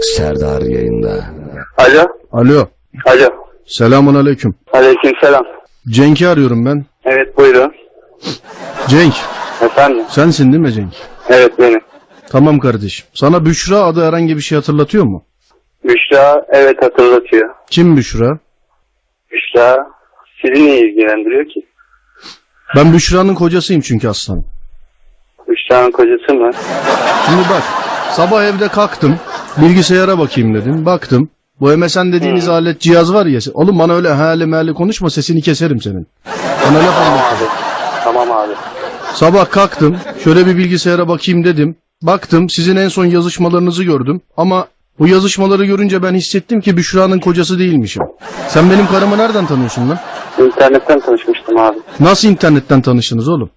Serdar yayında. Alo. Alo. Alo. Selamun aleyküm. Aleyküm selam. Cenk'i arıyorum ben. Evet buyurun. Cenk. Efendim. Sensin değil mi Cenk? Evet benim. Tamam kardeşim. Sana Büşra adı herhangi bir şey hatırlatıyor mu? Büşra evet hatırlatıyor. Kim Büşra? Büşra sizi niye ilgilendiriyor ki? Ben Büşra'nın kocasıyım çünkü aslanım. Büşra'nın kocası mı? Şimdi bak. Sabah evde kalktım. Bilgisayara bakayım dedim. Baktım. Bu MSN dediğiniz alet cihaz var ya. Oğlum bana öyle hali mali konuşma sesini keserim senin. Bana laf anlatma. Tamam abi. Tamam abi. Sabah kalktım, şöyle bir bilgisayara bakayım dedim. Baktım, sizin en son yazışmalarınızı gördüm ama bu yazışmaları görünce ben hissettim ki Büşra'nın kocası değilmişim. Sen benim karımı nereden tanıyorsun lan? İnternetten tanışmıştım abi. Nasıl internetten tanıştınız oğlum?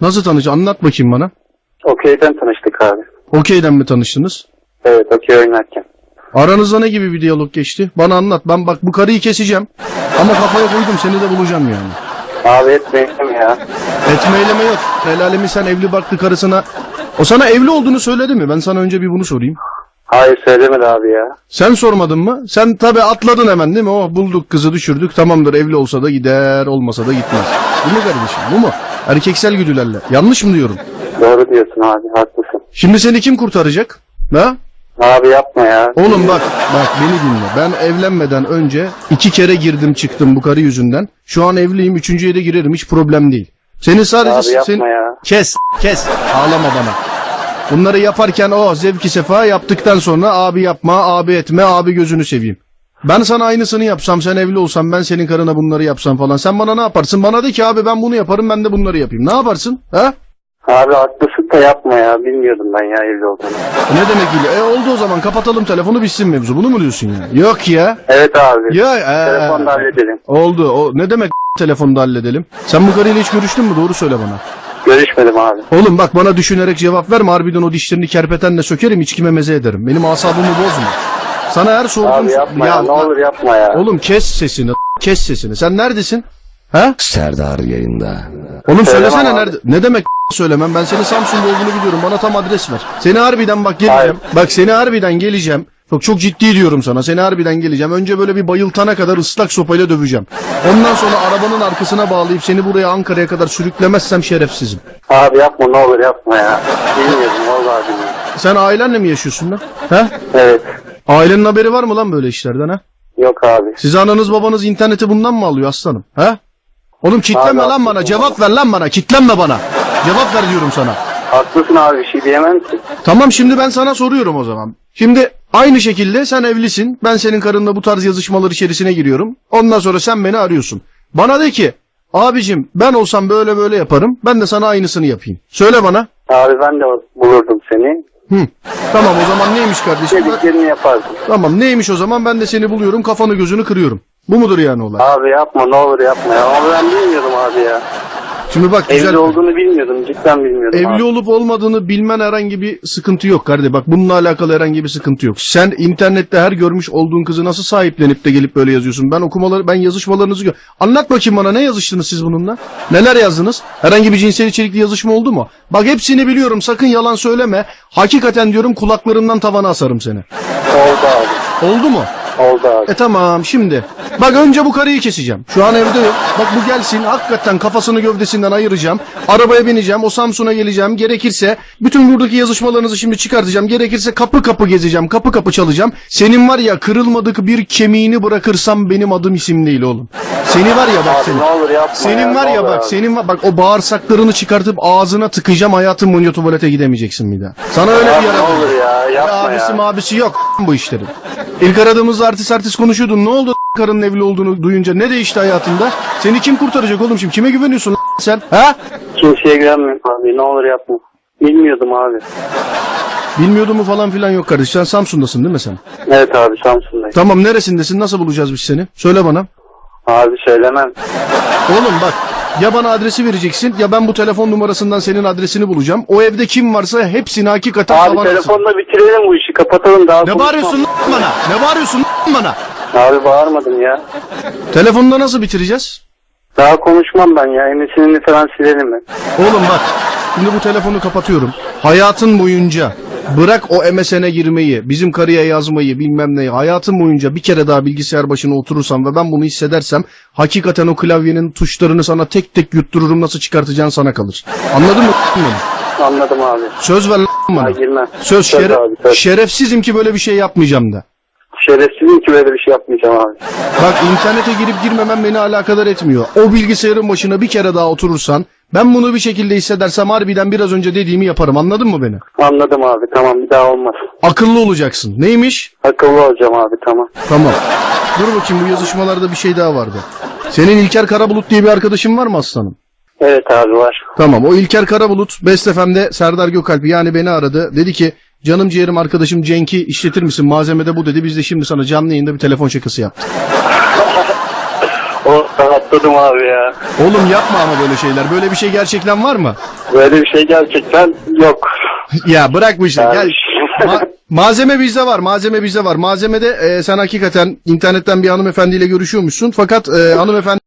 Nasıl tanış? Anlat bakayım bana. Okey'den tanıştık abi. Okey'den mi tanıştınız? Evet okey oynarken. Aranızda ne gibi bir diyalog geçti? Bana anlat. Ben bak bu karıyı keseceğim. Ama kafaya koydum seni de bulacağım yani. Abi etmeyelim ya. Etmeyleme yok. El alemi sen evli barklı karısına... O sana evli olduğunu söyledi mi? Ben sana önce bir bunu sorayım. Hayır söylemedi abi ya. Sen sormadın mı? Sen tabi atladın hemen değil mi? Oh bulduk kızı düşürdük tamamdır evli olsa da gider olmasa da gitmez. Bu mu kardeşim bu mu? Erkeksel güdülerle. Yanlış mı diyorum? Doğru diyorsun abi haklısın. Şimdi seni kim kurtaracak? Ha? Abi yapma ya. Oğlum bak bak beni dinle. Ben evlenmeden önce iki kere girdim çıktım bu karı yüzünden. Şu an evliyim üçüncüye de girerim hiç problem değil. Seni sadece... Abi yapma sen- ya. Kes kes ağlama bana. Bunları yaparken o zevki sefa yaptıktan sonra abi yapma, abi etme, abi gözünü seveyim. Ben sana aynısını yapsam, sen evli olsam, ben senin karına bunları yapsam falan. Sen bana ne yaparsın? Bana de ki abi ben bunu yaparım, ben de bunları yapayım. Ne yaparsın? Ha? Abi haklısın da yapma ya. Bilmiyordum ben ya evli olduğunu. E Ne demek öyle? E oldu o zaman kapatalım telefonu bitsin mevzu. Bunu mu diyorsun ya? Yok ya. Evet abi. Ya, e, Telefonda halledelim. Oldu. O ne demek telefonda halledelim? Sen bu karıyla hiç görüştün mü? Doğru söyle bana. Görüşmedim abi. Oğlum bak bana düşünerek cevap verme. Harbiden o dişlerini kerpetenle sökerim, içkime meze ederim. Benim asabımı bozma. Sana her sorduğum... şey- Abi yapma ya, ne olur yapma ya. Oğlum kes sesini, kes sesini. Sen neredesin? Ha? Serdar yayında. Oğlum Söylemem söylesene abi. nerede? Ne demek söylemem? Ben senin Samsun'da olduğunu biliyorum. Bana tam adres ver. Seni harbiden bak geleceğim. Hayır. Bak seni harbiden geleceğim. Çok çok ciddi diyorum sana. Seni harbiden geleceğim. Önce böyle bir bayıltana kadar ıslak sopayla döveceğim. Ondan sonra arabanın arkasına bağlayıp seni buraya Ankara'ya kadar sürüklemezsem şerefsizim. Abi yapma ne olur yapma ya. Bilmiyordum vallahi bilmiyorum. Sen ailenle mi yaşıyorsun lan? He? Evet. Ailenin haberi var mı lan böyle işlerden ha? Yok abi. Siz ananız babanız interneti bundan mı alıyor aslanım? He? Oğlum Abi, kitlenme lan haklısın bana. abi. Cevap ver lan bana. Kitlenme bana. Cevap ver diyorum sana. Haklısın abi bir şey diyemem ki. Tamam şimdi ben sana soruyorum o zaman. Şimdi aynı şekilde sen evlisin. Ben senin karınla bu tarz yazışmalar içerisine giriyorum. Ondan sonra sen beni arıyorsun. Bana de ki abicim ben olsam böyle böyle yaparım. Ben de sana aynısını yapayım. Söyle bana. Abi ben de bulurdum seni. Hı. Tamam o zaman neymiş kardeşim? Ben- Dediklerini yapardım. Tamam neymiş o zaman ben de seni buluyorum kafanı gözünü kırıyorum. Bu mudur yani olay? Abi yapma ne olur yapma ya. Ama ben bilmiyordum abi ya. Şimdi bak güzel. Evli olduğunu bilmiyordum. Cidden bilmiyordum Evli abi. olup olmadığını bilmen herhangi bir sıkıntı yok kardeşim. Bak bununla alakalı herhangi bir sıkıntı yok. Sen internette her görmüş olduğun kızı nasıl sahiplenip de gelip böyle yazıyorsun? Ben okumaları, ben yazışmalarınızı gör. Anlat bakayım bana ne yazıştınız siz bununla? Neler yazdınız? Herhangi bir cinsel içerikli yazışma oldu mu? Bak hepsini biliyorum. Sakın yalan söyleme. Hakikaten diyorum kulaklarından tavana asarım seni. Oldu abi. Oldu mu? Oldu abi. E tamam şimdi. Bak önce bu karıyı keseceğim. Şu an evde yok. Bak bu gelsin hakikaten kafasını gövdesinden ayıracağım. Arabaya bineceğim. O Samsun'a geleceğim. Gerekirse bütün buradaki yazışmalarınızı şimdi çıkartacağım. Gerekirse kapı kapı gezeceğim. Kapı kapı çalacağım. Senin var ya kırılmadık bir kemiğini bırakırsam benim adım isim değil oğlum. Seni var ya bak Abi seni. ne olur yapma Senin ya, var ne ya olur bak abi. senin var bak o bağırsaklarını çıkartıp ağzına tıkayacağım hayatın boyunca tuvalete gidemeyeceksin bir daha. Sana öyle bir Abi yara ne olur ya yapma abisi ya. mabisi yok bu işlerin. İlk aradığımızda artist artist konuşuyordun. Ne oldu karının evli olduğunu duyunca? Ne değişti hayatında? Seni kim kurtaracak oğlum şimdi? Kime güveniyorsun sen? Ha? Kimseye güvenmiyorum abi. Ne olur yapma. Bilmiyordum abi. Bilmiyordun mu falan filan yok kardeş. Sen Samsun'dasın değil mi sen? Evet abi Samsun'dayım. Tamam neresindesin? Nasıl bulacağız biz seni? Söyle bana. Abi söylemem. Oğlum bak ya bana adresi vereceksin ya ben bu telefon numarasından senin adresini bulacağım. O evde kim varsa hepsini hakikaten Abi tavan atsın. telefonla bitirelim bu işi. Kapatalım daha Ne konuşmam. bağırıyorsun lan bana? Ne bağırıyorsun lan bana? Abi bağırmadım ya. Telefonda nasıl bitireceğiz? Daha konuşmam ben ya. Emesinini falan silerim ben. Oğlum bak. Şimdi bu telefonu kapatıyorum. Hayatın boyunca Bırak o MSN'e girmeyi, bizim karıya yazmayı, bilmem neyi. Hayatım boyunca bir kere daha bilgisayar başına oturursam ve ben bunu hissedersem hakikaten o klavyenin tuşlarını sana tek tek yuttururum nasıl çıkartacağın sana kalır. Anladın mı? beni? Anladım abi. Söz ver lan bana. Ha, girmem. Söz, Söz şere- abi, söz. şerefsizim ki böyle bir şey yapmayacağım da. Şerefsizim ki böyle bir şey yapmayacağım abi. Bak internete girip girmemem beni alakadar etmiyor. O bilgisayarın başına bir kere daha oturursan ben bunu bir şekilde hissedersem harbiden biraz önce dediğimi yaparım anladın mı beni? Anladım abi tamam bir daha olmaz. Akıllı olacaksın. Neymiş? Akıllı olacağım abi tamam. Tamam. Dur bakayım bu yazışmalarda bir şey daha vardı. Senin İlker Karabulut diye bir arkadaşın var mı aslanım? Evet abi var. Tamam o İlker Karabulut Best FM'de Serdar Gökalp yani beni aradı. Dedi ki canım ciğerim arkadaşım Cenk'i işletir misin malzemede bu dedi. Biz de şimdi sana canlı yayında bir telefon şakası yaptık. O rahatladım abi ya. Oğlum yapma ama böyle şeyler. Böyle bir şey gerçekten var mı? Böyle bir şey gerçekten yok. Ya bırak bu işi. Gel. Gelmiş. Ma- malzeme bizde var. Malzeme bizde var. Malzemede e, sen hakikaten internetten bir hanımefendiyle görüşüyormuşsun. Fakat e, hanımefendi